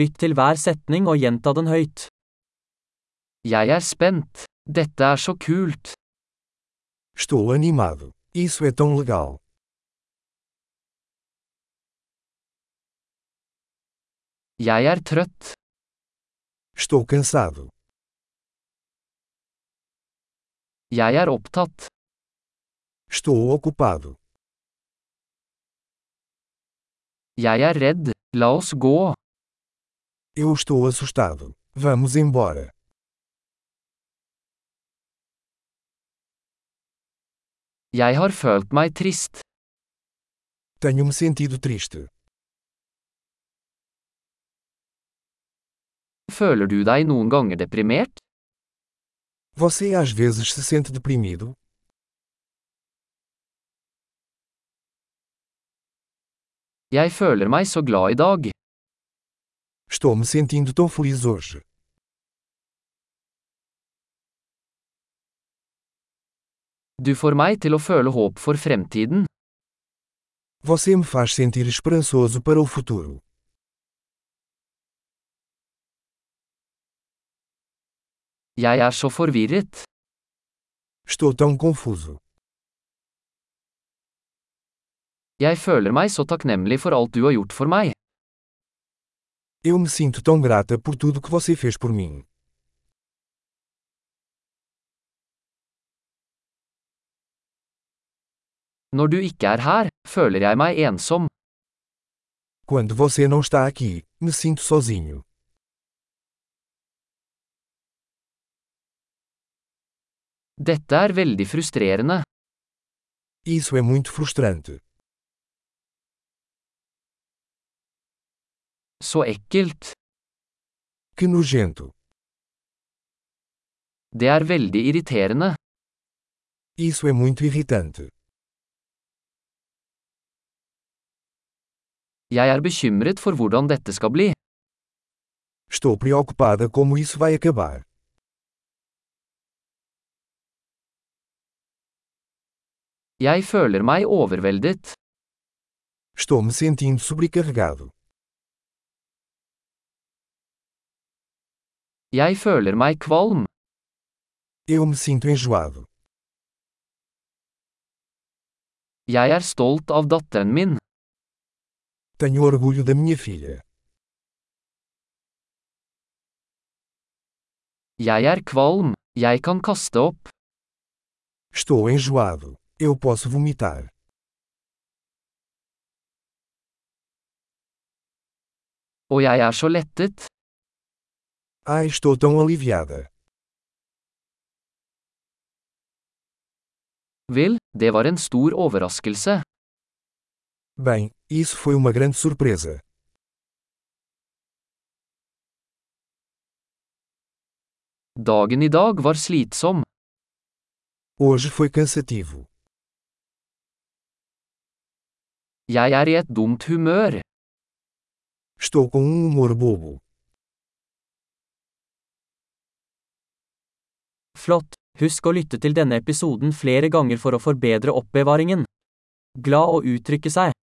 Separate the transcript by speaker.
Speaker 1: Lytt til hver setning og gjenta den høyt. Jeg er spent. Dette er så kult.
Speaker 2: Estou animado. Isso é tão legal.
Speaker 1: Jeg er trøtt.
Speaker 2: Estou cansado.
Speaker 1: Jeg er opptatt.
Speaker 2: Estou ocupado.
Speaker 1: Jeg er redd. La oss gå.
Speaker 2: Eu estou assustado. Vamos embora.
Speaker 1: Jeg har følt meg trist.
Speaker 2: Tenho me sentido triste.
Speaker 1: Føler du deg noen ganger deprimert?
Speaker 2: Você às vezes se sente deprimido?
Speaker 1: Jeg føler meg så glad i dag.
Speaker 2: Estou me sentindo tão feliz hoje.
Speaker 1: Du får meg til å føle håp for fremtiden.
Speaker 2: Você me faz sentir esperançoso para o futuro.
Speaker 1: Jeg er så forvirret.
Speaker 2: Estou tão confuso.
Speaker 1: Jeg føler meg så takknemlig for alt du har gjort for meg.
Speaker 2: Eu me sinto tão grata por tudo que você fez por mim.
Speaker 1: Når du ikke er her, føler jeg meg ensom.
Speaker 2: Quando você não está aqui, me sinto sozinho.
Speaker 1: Dette er veldig frustrerende.
Speaker 2: Isso é muito frustrante.
Speaker 1: Så ekkelt.
Speaker 2: Que nojento.
Speaker 1: Det er veldig irriterende.
Speaker 2: Isso é muito irritante.
Speaker 1: Jeg er bekymret for hvordan dette skal bli.
Speaker 2: Estou preocupada como isso vai acabar.
Speaker 1: Jeg føler meg overveldet.
Speaker 2: Estou me sentindo sobrecarregado.
Speaker 1: Jeg føler meg kvalm.
Speaker 2: Eu me sinto enjoado.
Speaker 1: Jeg er stolt av datteren min.
Speaker 2: Tenho orgulho da minha filha.
Speaker 1: Jeg er kvalm. Jeg kan kaste opp.
Speaker 2: Estou enjoado. Eu posso vomitar.
Speaker 1: Og jeg er så lettet.
Speaker 2: Ai, estou tão aliviada.
Speaker 1: Vel, det var en stor overraskelse.
Speaker 2: Bem, isso foi uma grande surpresa.
Speaker 1: Dagen i dag var slitsom.
Speaker 2: Hoje foi cansativo.
Speaker 1: Jeg er i et dumt humør.
Speaker 2: Estou com um humor bobo.
Speaker 1: Flott! Husk å lytte til denne episoden flere ganger for å forbedre oppbevaringen. Glad å uttrykke seg!